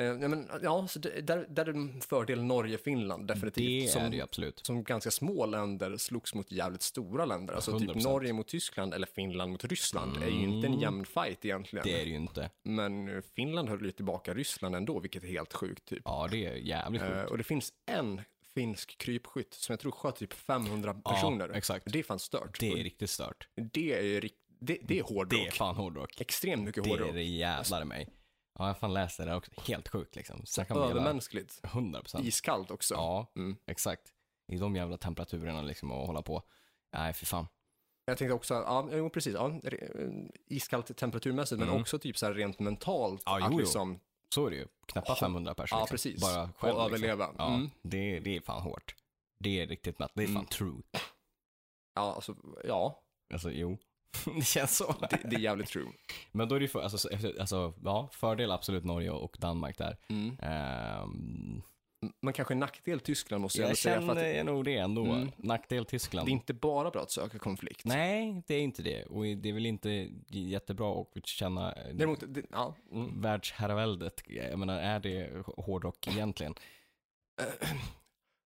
S2: Eh, ja, men, ja, så det, där, där är det en fördel Norge-Finland definitivt.
S1: Det
S2: som
S1: är det ju absolut.
S2: som ganska små länder slogs mot jävligt stora länder. Alltså typ
S1: 100%.
S2: Norge mot Tyskland eller Finland mot Ryssland är ju inte en jämn fight egentligen.
S1: Mm. Det är det ju inte.
S2: Men Finland höll ju tillbaka Ryssland ändå, vilket är helt sjukt typ.
S1: Ja, det är jävligt
S2: Eh,
S1: sjukt.
S2: och det finns en finsk krypskytt som jag tror sköt typ 500
S1: Ja,
S2: personer.
S1: exakt.
S2: Det är fan stört.
S1: Det
S2: Det,
S1: är riktigt stört.
S2: det är ju rikt- det, det är hårdrock.
S1: Det är fan hårdrock.
S2: Extremt mycket
S1: Det är
S2: hårdrock.
S1: det jävlar i mig. Ja, jag fan läste det där också. Helt sjukt liksom. Så kan man göra
S2: Övermänskligt.
S1: 100 procent.
S2: Iskallt också.
S1: Ja,
S2: Mm.
S1: exakt. I de jävla temperaturerna liksom och hålla på. Nej, för fan.
S2: Jag tänkte också, ja, jo, precis, ja, re- eh, iskallt temperaturmässigt, men också typ så här rent mentalt.
S1: Mm. Ja,
S2: att
S1: jo, jo.
S2: liksom,
S1: Så är det ju. Knappa 500 personer.
S2: Ja,
S1: liksom.
S2: precis.
S1: Bara
S2: Och
S1: själv. liksom.
S2: överleva.
S1: Ja,
S2: Mm.
S1: det, det är fan hårt. Det är riktigt mätt. Det är fan true.
S2: Ja, alltså, ja,
S1: Alltså, jo. det känns så.
S2: det, det är jävligt true.
S1: Men då är det ju för, alltså, så- efter- alltså, ja, fördel absolut Norge och Danmark där. Ehm,
S2: Mm. Men kanske en nackdel Tyskland måste jag, ändå
S1: jag
S2: säga, för
S1: känner
S2: att det
S1: jag nog det ändå. Nackdel Tyskland.
S2: är inte bara bra att söka konflikt.
S1: Nej, det är inte det. Och det är väl inte jättebra att känna eh,
S2: Däremot, det, ja, mm.
S1: världsherraväldet. Jag menar, är det hårdrock egentligen?
S2: eh,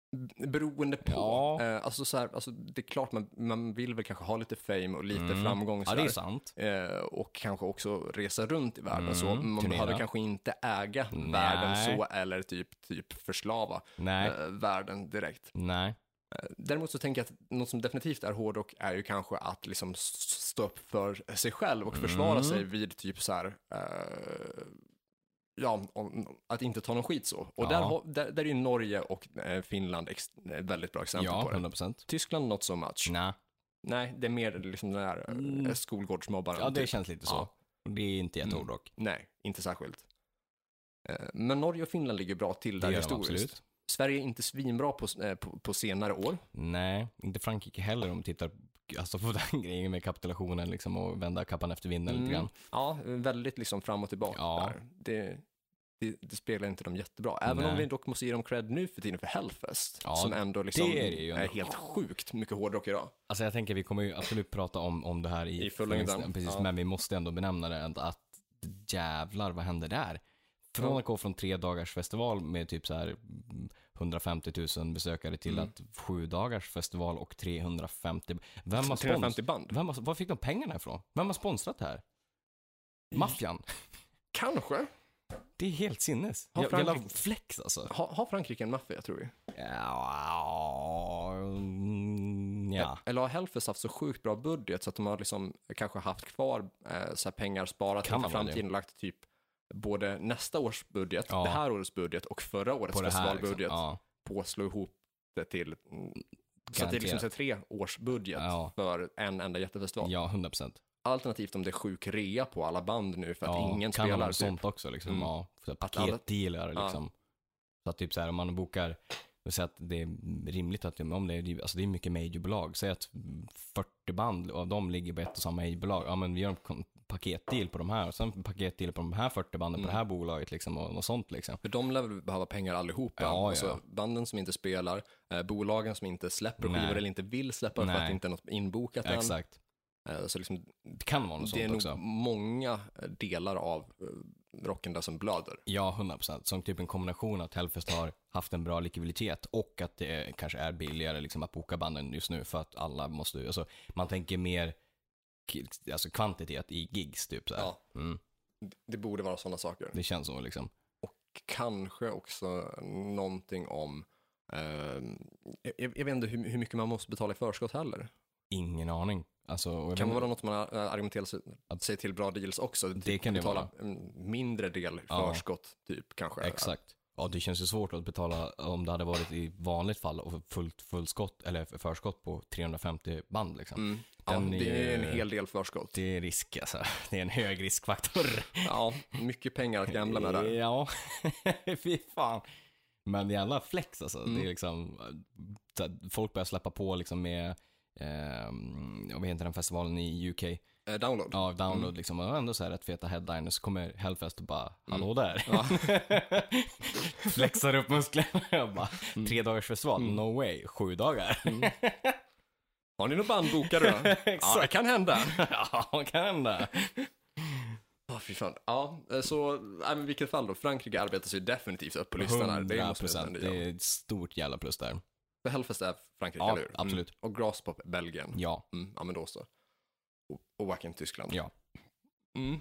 S2: beroende på.
S1: Ja.
S2: Eh, alltså, så här, alltså, det är klart man, man vill väl kanske ha lite fame och lite framgång.
S1: Mm.
S2: Så
S1: Ja, det är
S2: här.
S1: sant.
S2: Eh, och kanske också resa runt i världen
S1: Mm,
S2: så. Man
S1: turnera.
S2: behöver kanske inte äga
S1: Nej.
S2: världen så eller typ, typ förslava
S1: Nej,
S2: eh, världen direkt.
S1: nej.
S2: Däremot så tänker jag att något som definitivt är hårdrock är ju kanske att liksom s- stå upp för sig själv och försvara
S1: Mm.
S2: sig vid typ så här, eh, ja, om, att inte ta någon skit så. Och där,
S1: Ja.
S2: har- där, där är ju Norge och eh, Finland ex, eh, väldigt bra exempel
S1: Ja,
S2: på det.
S1: 100 procent.
S2: Tyskland not so much.
S1: Nej,
S2: Nej, det är mer liksom den där eh,
S1: Mm.
S2: skolgårdsmobbaren.
S1: ja, det
S2: typ.
S1: känns lite så.
S2: Ja.
S1: Det är inte
S2: Mm.
S1: jättehårdrock.
S2: Nej, inte särskilt. Eh, Men Norge och Finland ligger bra till
S1: Det
S2: där
S1: gör de
S2: historiskt.
S1: absolut.
S2: Sverige är inte svinbra på, eh, på, på senare år.
S1: Nej, inte Frankrike heller om man tittar alltså, på den grejen med kapitulationen liksom, och vända kappan efter vinden
S2: Mm.
S1: lite grann.
S2: Ja, väldigt liksom fram och tillbaka.
S1: Ja.
S2: Där. Det, det, det spelar inte dem jättebra. Även om
S1: Nej.
S2: vi dock måste ge dem cred nu för tiden för Hellfest,
S1: Ja,
S2: som ändå liksom
S1: det är det ju ändå.
S2: är helt sjukt mycket hårdrock idag.
S1: Alltså jag tänker vi kommer ju absolut prata om, om det här i,
S2: I full längd,
S1: Precis,
S2: ja.
S1: men vi måste ändå benämna det att, att jävlar vad hände där? Från
S2: Ja.
S1: att gå från tre dagars festival med typ så här mm, 150 000 besökare till
S2: Mm.
S1: att sju dagars festival och 350. Vem har, spons...
S2: 350 band.
S1: Vem har... Var fick de pengarna ifrån? Vem har sponsrat det här? Maffian?
S2: Kanske.
S1: Det är helt sinnes.
S2: Har
S1: Ja, Jävla
S2: Frankrike-
S1: flex alltså.
S2: Ha, har Frankrike en maffia, tror vi?
S1: Ja, mm, ja.
S2: Eller har Hellfest haft så sjukt bra budget så att de har liksom kanske haft kvar eh, så här pengar sparat
S1: Kan
S2: inför
S1: vara det.
S2: framtiden och lagt typ både nästa års budget,
S1: Ja.
S2: det här årets budget och förra årets
S1: På det här
S2: festivalbudget
S1: liksom. Ja,
S2: på att slå ihop det till mm, så att det är liksom så här tre års budget
S1: Ja.
S2: för en enda jättefestival.
S1: ja 100 procent.
S2: Alternativt om det är sjuk rea på alla band nu för att ingen
S1: kan vara
S2: spelar.
S1: något
S2: Typ.
S1: sånt också. Liksom,
S2: Mm.
S1: ja, så här
S2: Att alla-
S1: paketdealar
S2: Ja.
S1: liksom. Så att typ så här, om man bokar, så att det är rimligt att, om det är, alltså det är mycket majorbolag, säg att 40 band av dem ligger på ett och samma majorbolag, ja men vi gör en kon- paketdeal på de här, och sen paketdeal på de här 40 banden
S2: Mm.
S1: på det här bolaget liksom och något sånt liksom.
S2: För de lär väl behöva pengar allihopa.
S1: Ja, ja.
S2: Alltså, banden som inte spelar, eh, bolagen som inte släpper
S1: Nej.
S2: skivor eller inte vill släppa för
S1: Nej.
S2: att det inte är något inbokat än.
S1: Exakt.
S2: Eh, så liksom,
S1: Det kan vara något
S2: det är
S1: sånt
S2: nog
S1: också.
S2: många eh, delar av eh, rocken där som blöder.
S1: Ja, 100%. Som typ en kombination att Hellfest har haft en bra likviditet och att det är- kanske är billigare liksom att boka banden just nu för att alla måste, alltså man tänker mer k- alltså kvantitet i gigs typ så här.
S2: Ja.
S1: Mm,
S2: Det borde vara sådana saker.
S1: Det känns så liksom.
S2: kanske också någonting om, eh, jag, jag vet inte hur, hur mycket man måste betala i förskott heller.
S1: Ingen aning. Alltså, och jag
S2: Kan
S1: vet-
S2: vara något man eh, argumenterar sig,
S1: Att-
S2: sig till bra deals också. Typ
S1: Det kan det
S2: betala en mindre del i
S1: Ja.
S2: förskott typ kanske.
S1: Exakt. Ja, det känns ju svårt att betala om det hade varit i vanligt fall och fullt fullskott, eller förskott på 350 band liksom.
S2: Mm. Ja,
S1: Den
S2: det är
S1: är ju-
S2: en hel del förskott.
S1: Det är risk alltså. Det är en hög riskfaktor.
S2: Ja, mycket pengar att gamla med där.
S1: Ja, fy fan. Men jävla flex alltså.
S2: Mm.
S1: Det är liksom, så att folk börjar släppa på liksom med, eh, vad heter den festivalen i UK?
S2: Eh, Download.
S1: Ja, download liksom. Och ändå så här rätt feta headliners. Så kommer Hellfest och bara, hallå där.
S2: Mm. Ja.
S1: Flexar upp musklerna. Jag bara,
S2: Mm.
S1: tre dagars festival, no way. Sju dagar.
S2: Har ni någon band bokade då? Ja, det
S1: Exakt.
S2: kan hända.
S1: ja, kan hända.
S2: Ja, fy fan. Ja, eh, så, nej, men i vilket fall då? Frankrike arbetar sig definitivt upp på listan här. Det
S1: 100
S2: måste vi
S1: procent.
S2: ändå göra.
S1: Det är ett stort jävla plus där.
S2: För Hellfest är Frankrike,
S1: Ja,
S2: eller hur?
S1: absolut.
S2: Mm. Och Graspop, Belgien.
S1: Ja,
S2: Mm, ja, men då så. Och, och Wacken, Tyskland.
S1: ja.
S2: Mm.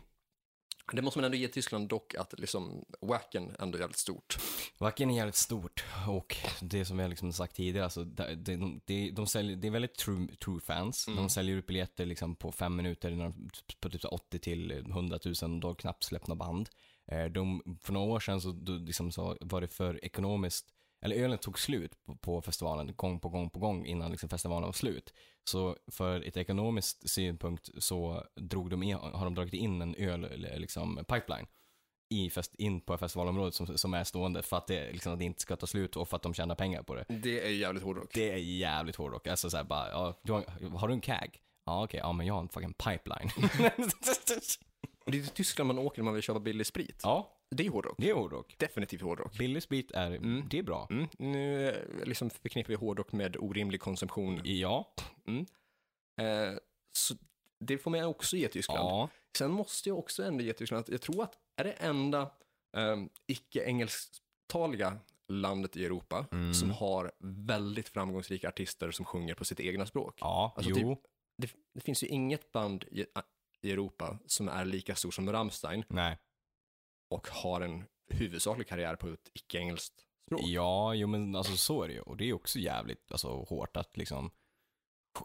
S2: Det måste man ändå ge Tyskland dock, att liksom Wacken ändå är jävligt stort.
S1: Wacken är jävligt stort och det som jag liksom sagt tidigare, alltså, det, det, de, de säljer, det är väldigt true, true fans.
S2: Mm.
S1: De säljer ut biljetter liksom på fem minuter, när de- på typ så 80 till 100 000, då har knappt släppt något band. Eh, De, för några år sedan så, då, liksom, så var det för ekonomiskt, eller ölen tog slut på, på festivalen gång på gång på gång innan liksom festivalen var slut. Så för ett ekonomiskt synpunkt så drog de in, har de dragit in en öl, eller liksom, pipeline i fest, in på festivalområdet som, som är stående för att det, liksom, att det inte ska ta slut och för att de tjänar pengar på det.
S2: Det är jävligt hårdrock.
S1: Det är jävligt hårdrock. Alltså såhär bara, ja, du har, har du en CAG? Ja okej, ja men jag har en fucking pipeline.
S2: Och det är till Tyskland man åker när man vill köpa billig sprit.
S1: ja,
S2: Det är hårdrock.
S1: det är hårdrock.
S2: Definitivt hårdrock.
S1: Billig sprit är, det är bra.
S2: Mm. Nu eh, liksom förknippar vi hårdrock med orimlig konsumtion.
S1: Ja,
S2: Eh, så det får man också ge Tyskland.
S1: ja,
S2: Sen måste jag också ändå ge Tyskland att jag tror att är det enda eh, icke-engelsktaliga ehm, landet i Europa
S1: Mm.
S2: som har väldigt framgångsrika artister som sjunger på sitt egna språk.
S1: Ja,
S2: Alltså,
S1: jo.
S2: Det, det finns ju inget band i, i Europa som är lika stor som Rammstein
S1: Nej.
S2: och har en huvudsaklig karriär på ett icke-engelskt språk.
S1: Ja, jo men alltså så är det ju. Och det är också jävligt alltså, hårt att liksom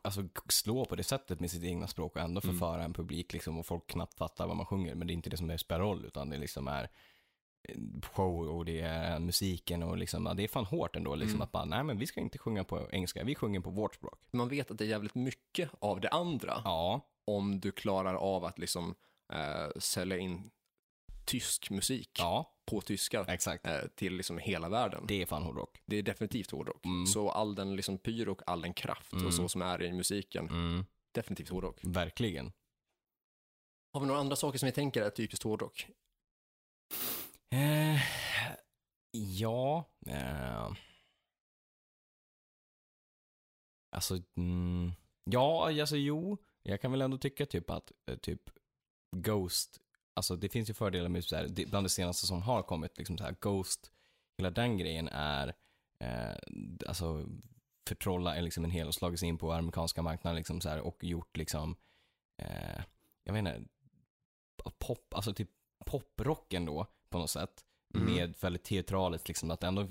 S1: alltså, slå på det sättet med sitt egna språk och
S2: Mm.
S1: ändå förföra en publik liksom, och folk knappt fattar vad man sjunger. Men det är inte det som är spelar roll, utan det liksom är eh, show och det är musiken och liksom, ja, det är fan hårt ändå liksom
S2: Mm.
S1: att bara, nej men vi ska inte sjunga på engelska, vi sjunger på vårt språk.
S2: Man vet att det är jävligt mycket av det andra
S1: Ja,
S2: om du klarar av att liksom eh, sälja in tysk musik
S1: ja,
S2: på tyska
S1: exakt.
S2: eh, till liksom hela världen. Det,
S1: Det är fan hårdrock.
S2: är definitivt hårdrock.
S1: Mm.
S2: Så all den liksom pyr och all den kraft
S1: Mm.
S2: och så som är i musiken,
S1: Mm,
S2: definitivt hårdrock.
S1: verkligen.
S2: Har vi några andra saker som vi tänker är typiskt hårdrock?
S1: Eh, ja. Eh, alltså, mm, ja, alltså jo. Jag kan väl ändå tycka typ att eh, typ Ghost, alltså det finns ju fördelar med så här, det, bland det senaste som har kommit, liksom så här Ghost, hela den grejen är, eh, alltså förtrolla är liksom en hel och slagit sig in på amerikanska marknaden liksom så här och gjort liksom, eh, jag vet inte, pop, alltså typ poprocken då på något sätt.
S2: Mm.
S1: Med väldigt teatraliskt liksom, att ändå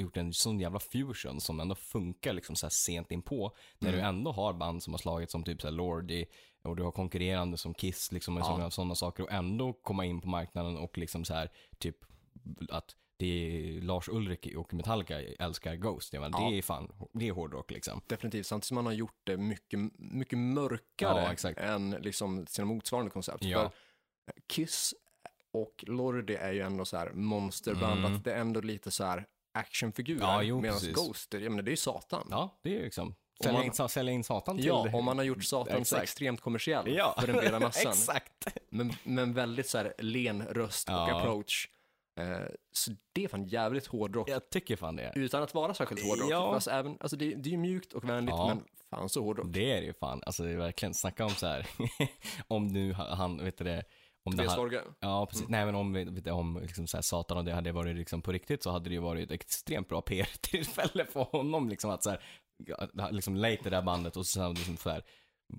S1: gjort en sån jävla fusion som ändå funkar liksom så här sent inpå. När
S2: Mm.
S1: du ändå har band som har slagit som typ så här Lordi och du har konkurrerande som Kiss liksom och
S2: Ja.
S1: sådana, sådana saker och ändå komma in på marknaden och liksom så här typ att det är Lars Ulrik och Metallica älskar Ghost. Jag menar,
S2: Ja.
S1: Det är fan, det är hårdrock liksom.
S2: Definitivt, samtidigt som man har gjort det mycket, mycket
S1: Ja,
S2: mörkare
S1: exakt.
S2: än liksom sina motsvarande koncept.
S1: Ja.
S2: För eh, Kiss och Lordi är ju ändå så här monsterband,
S1: Mm.
S2: att det är ändå lite så här actionfigurer.
S1: Ja, jo,
S2: Medan
S1: precis.
S2: Ghost, jag menar, det är ju Satan.
S1: Ja, det är liksom, sälja,
S2: man-
S1: in, sa- sälja in satan till
S2: Ja, om man har gjort Satan så
S1: Exakt.
S2: extremt kommersiell
S1: Ja.
S2: för den breda massan.
S1: Exakt.
S2: men, men väldigt så här len röst och
S1: Ja.
S2: approach. Eh, så det är fan jävligt hårdrock.
S1: Jag tycker fan det.
S2: Utan att vara särskilt hårdrock.
S1: Ja.
S2: Fast även, alltså det, det är ju mjukt och vänligt,
S1: Ja.
S2: men fan så hårdrock.
S1: Det är det ju fan. Alltså det är verkligen, snacka om så här, om nu ha- han, vet du det, om det
S2: Tobias
S1: här,
S2: Torge.
S1: Ja, precis. Nej, men om, vet du, om liksom så här, Satan och det hade varit liksom på riktigt så hade det ju varit ett extremt bra PR-tillfälle för honom. Liksom, att så här, liksom lejt det där bandet och så, här, liksom, så här,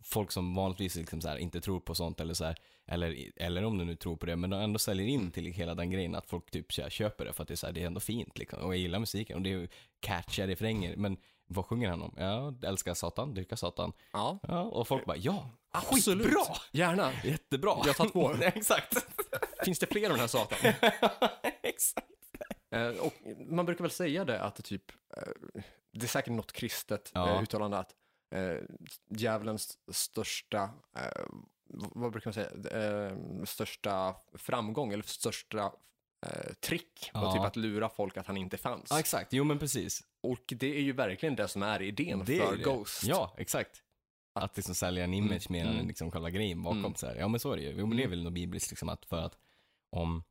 S1: folk som vanligtvis liksom, så här, inte tror på sånt eller så här, eller, eller om de nu tror på det, men de ändå säljer
S2: Mm.
S1: in till hela den grejen att folk typ så här, köper det för att det är, så här, det är ändå fint liksom. Och jag gillar musiken och det är ju catchiga refränger. Men vad sjunger han om? Ja, älskar Satan, dyrkar Satan.
S2: Ja,
S1: Ja, och folk bara ja,
S2: absolut.
S1: skitbra!
S2: Gärna.
S1: Jättebra!
S2: Jag tar två.
S1: Exakt.
S2: Finns det fler av den här Satan?
S1: Exakt.
S2: Eh, och man brukar väl säga det att det typ, eh, det är säkert något kristet
S1: Ja.
S2: eh, uttalande att eh, djävulens största, eh, v- vad brukar man säga, eh, största framgång eller största eh, trick var
S1: Ja.
S2: typ att lura folk att han inte fanns.
S1: Ja, exakt. Jo, men precis.
S2: Och det är ju verkligen det som är idén
S1: Det är
S2: för
S1: ju det.
S2: Ghost.
S1: Ja, exakt. Att liksom sälja en image mer än
S2: Mm.
S1: liksom själva grejen bakom.
S2: Mm.
S1: Så här. Ja, men så är det ju. Jo, men det är väl något bibliskt liksom att för att om,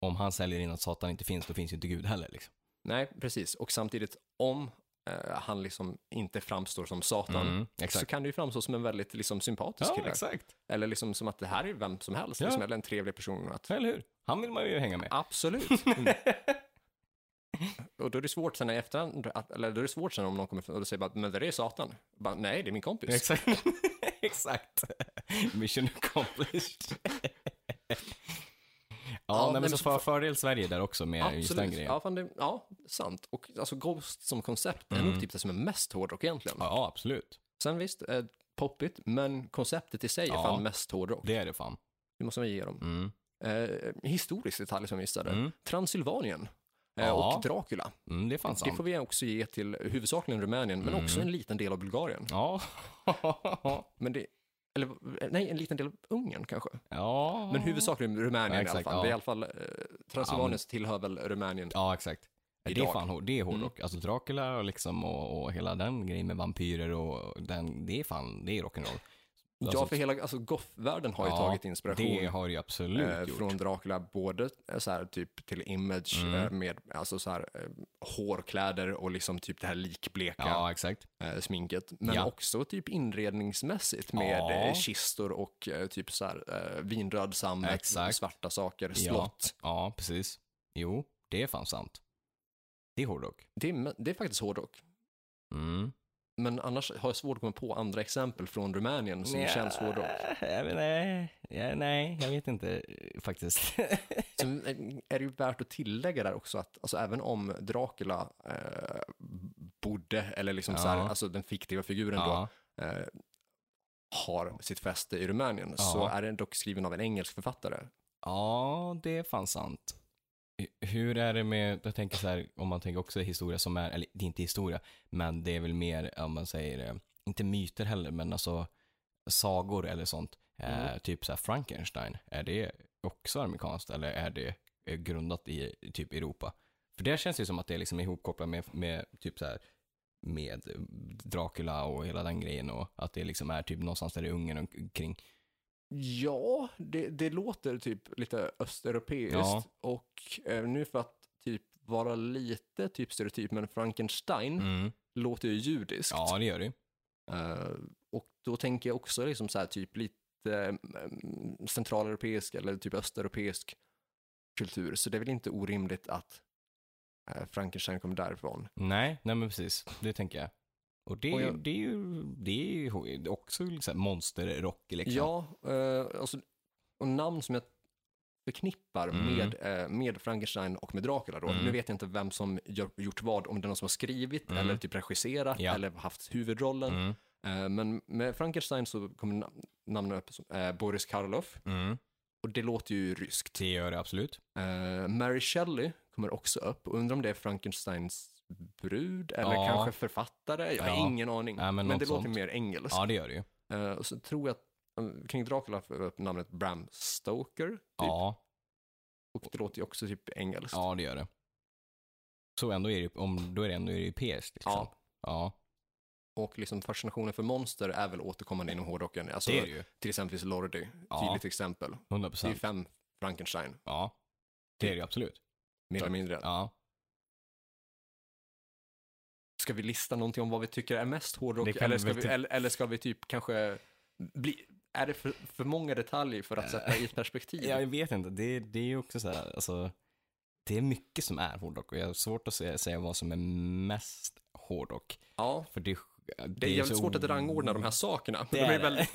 S1: om han säljer in att Satan inte finns, då finns ju inte Gud heller liksom.
S2: Nej, precis. Och samtidigt om eh, han liksom inte framstår som Satan
S1: Mm,
S2: så
S1: exakt.
S2: kan det ju framstå som en väldigt liksom, sympatisk kille.
S1: exakt.
S2: Eller liksom som att det här är vem som helst,
S1: Ja.
S2: liksom, eller en trevlig person. Att,
S1: Eller hur? Han vill man ju hänga med.
S2: Absolut. Mm. och då är det svårt sen i efterhand, att, eller då är det svårt sen om någon kommer fram och då säger bara, men det där är Satan. Bara, Nej, det är min kompis.
S1: Exakt. exakt. Mission accomplished. ja, nej, men,
S2: men
S1: så,
S2: så-
S1: för, fördel Sverige där också med just den
S2: Absolut.
S1: grejen.
S2: Ja, fan, det, ja, sant. Och alltså Ghost som koncept är nog typ det som är mest hårdrock egentligen.
S1: Mm. ja, absolut.
S2: Sen visst, eh, poppigt, men konceptet i sig är
S1: Ja.
S2: fan mest hårdrock.
S1: Det är det fan.
S2: Det måste man ge dem.
S1: Mm.
S2: Eh, historisk detalj som vi missade.
S1: Mm.
S2: Transylvanien eh,
S1: Ja.
S2: och Dracula.
S1: Mm, det är fan
S2: Det
S1: sant.
S2: får vi också ge till huvudsakligen Rumänien, men också
S1: Mm.
S2: en liten del av Bulgarien.
S1: Ja.
S2: Men det, eller, nej, en liten del av Ungern kanske.
S1: ja.
S2: Men huvudsakligen Rumänien
S1: Ja,
S2: i alla
S1: exakt,
S2: fall.
S1: ja.
S2: Det är i alla fall, eh, Transylvanien tillhör väl Rumänien.
S1: Ja, exakt. Det är
S2: Idag.
S1: fan hår, det är
S2: Mm.
S1: hårdrock. Alltså Dracula och, liksom, och, och hela den grejen med vampyrer och den, det är fan, det är rock'n'roll.
S2: ja, för hela alltså, goth-världen har ju
S1: Ja,
S2: tagit inspiration.
S1: Det har det ju absolut
S2: eh,
S1: gjort.
S2: från Dracula, både eh, så här, typ till image eh,
S1: Mm.
S2: med alltså, så här, eh, hårkläder och liksom typ det här likbleka
S1: Ja, exakt.
S2: eh, sminket. Men
S1: Ja.
S2: också typ inredningsmässigt med
S1: Ja.
S2: eh, kistor och eh, typ så här, eh, vinröd sammet,
S1: Exakt.
S2: svarta saker, slott.
S1: Ja, precis. Jo, det är fan sant. Det är hårdrock.
S2: Det är, det är faktiskt hårdrock.
S1: Mm.
S2: Men annars har jag svårt att komma på andra exempel från Rumänien som känns hårdrock.
S1: Jag vet, nej, ja, nej, jag vet inte eh, faktiskt.
S2: Sen eh, är det ju värt att tillägga där också att alltså, även om Dracula eh, bodde, eller liksom
S1: Ja.
S2: så här, alltså den fiktiva figuren
S1: ja.
S2: då, eh, har sitt fäste i Rumänien,
S1: Ja.
S2: så är den dock skriven av en engelsk författare.
S1: ja, det är fan sant. H- Hur är det med, jag tänker så här, om man tänker också historia som är, eller det är inte historia, men det är väl mer om man säger, eh, inte myter heller, men alltså sagor eller sånt. Eh,
S2: Mm.
S1: Typ så här Frankenstein, är det också amerikanskt eller är det eh, grundat i i typ Europa? För det känns ju som att det är liksom ihopkopplat med, med typ så här med Dracula och hela den grejen och att det liksom är typ någonstans där i Ungern och kring.
S2: Ja, det, det låter typ lite östeuropeiskt
S1: Ja.
S2: och eh, nu för att typ vara lite typ stereotyp, men Frankenstein låter ju judiskt.
S1: Mm. Ja, det gör det ju.
S2: Eh, och då tänker jag också liksom så här typ lite um, centraleuropeisk eller typ östeuropeisk kultur. Så det är väl inte orimligt att eh, Frankenstein kommer därifrån.
S1: Nej, nej men precis. Det tänker jag. Och det,
S2: Och
S1: är ju-
S2: jag-
S1: det är ju, det är ju också liksom monsterrock liksom.
S2: Ja, eh, alltså, och namn som jag förknippar
S1: Mm.
S2: med, eh, med Frankenstein och med Dracula då.
S1: Mm.
S2: Nu vet jag inte vem som gör, gjort vad, om det är någon som har skrivit
S1: Mm.
S2: eller typ regisserat
S1: Ja.
S2: eller haft huvudrollen.
S1: Mm,
S2: Eh, men med Frankenstein så kommer nam- namnen upp som eh, Boris Karloff
S1: mm.
S2: och det låter ju ryskt.
S1: Det gör det absolut.
S2: Eh, Mary Shelley kommer också upp. Undrar om det är Frankensteins brud eller
S1: Ja.
S2: kanske författare. Jag har
S1: Ja.
S2: ingen aning.
S1: Ja, men
S2: men
S1: något
S2: det låter
S1: sånt.
S2: mer engelskt.
S1: Ja, det gör det ju.
S2: Eh, och så tror jag att eh, kring Dracula får jag upp namnet Bram Stoker. Typ.
S1: Ja,
S2: Och det låter ju också typ engelskt.
S1: ja, det gör det. Så ändå är det, om, då är det ändå europeiskt liksom.
S2: Ja.
S1: ja,
S2: Och liksom fascinationen för monster är väl återkommande inom hårdrocken. Alltså,
S1: det är det ju.
S2: Till exempel Lordi,
S1: Ja.
S2: tydligt exempel. Det är ju
S1: 100%.
S2: fem Frankenstein,
S1: Ja, det är det ju absolut.
S2: mer eller mindre.
S1: Ja,
S2: Ska vi lista någonting om vad vi tycker är mest hårdrock?
S1: Det kan
S2: Eller
S1: vi
S2: ska
S1: väl
S2: vi,
S1: typ-
S2: eller, eller ska vi typ kanske bli... Är det för, för många detaljer för att sätta i ett perspektiv?
S1: Eh. Ja, jag vet inte. Det, det är ju också så här, alltså, det är mycket som är hårdrock och jag har svårt att se- säga vad som är mest hårdrock.
S2: Ja,
S1: För det,
S2: det är jävligt svårt att rangordna de här sakerna. för de är,
S1: det.
S2: väldigt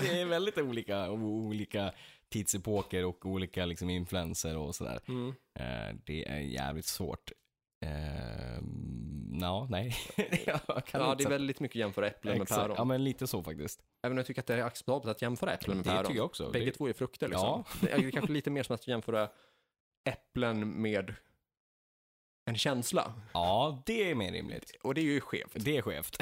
S1: det är väldigt olika, och olika tidsepoker och olika liksom influenser och sådär.
S2: Mm.
S1: Eh, det är jävligt svårt. Eh, ja, nej. jag kan
S2: Ja,
S1: inte
S2: det är
S1: sätta-
S2: väldigt mycket jämföra äpplen med
S1: Exakt.
S2: päron.
S1: Ja, men lite så faktiskt.
S2: Även om jag tycker att det är acceptabelt att jämföra äpplen med
S1: Det tycker
S2: päron.
S1: jag också.
S2: Bägge
S1: det,
S2: två är frukter liksom.
S1: Ja.
S2: Det är kanske lite mer som att jämföra äpplen med en känsla.
S1: ja, det är mer rimligt.
S2: Och det är ju skevt.
S1: Det är skevt.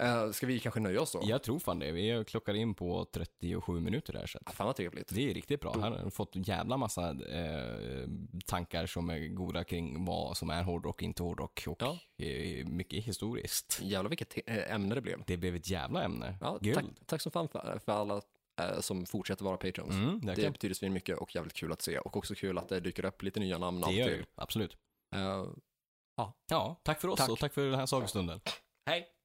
S2: Eh, ska vi kanske nöja oss då?
S1: Jag tror fan det. Vi klockar in på 37 minuter där. Så att
S2: Ah, Fan vad trevligt.
S1: det är riktigt bra. Här har du fått en jävla massa eh, tankar som är goda kring vad som är hårdrock och inte hårdrock. Och
S2: Ja.
S1: eh, mycket historiskt.
S2: Jävlar vilket te- eh, ämne det blev.
S1: Det blev ett jävla ämne.
S2: Ja, tack,
S1: Guld.
S2: tack som fan för, för alla eh, som fortsätter vara Patreons.
S1: Mm, det,
S2: Det
S1: det,
S2: betyder så mycket och jävligt kul att se och också kul att det dyker upp lite nya namn
S1: det
S2: alltid.
S1: gör det ju. Absolut.
S2: Eh,
S1: Ja, tack för oss
S2: Tack.
S1: och tack för den här sagostunden.
S2: Hej!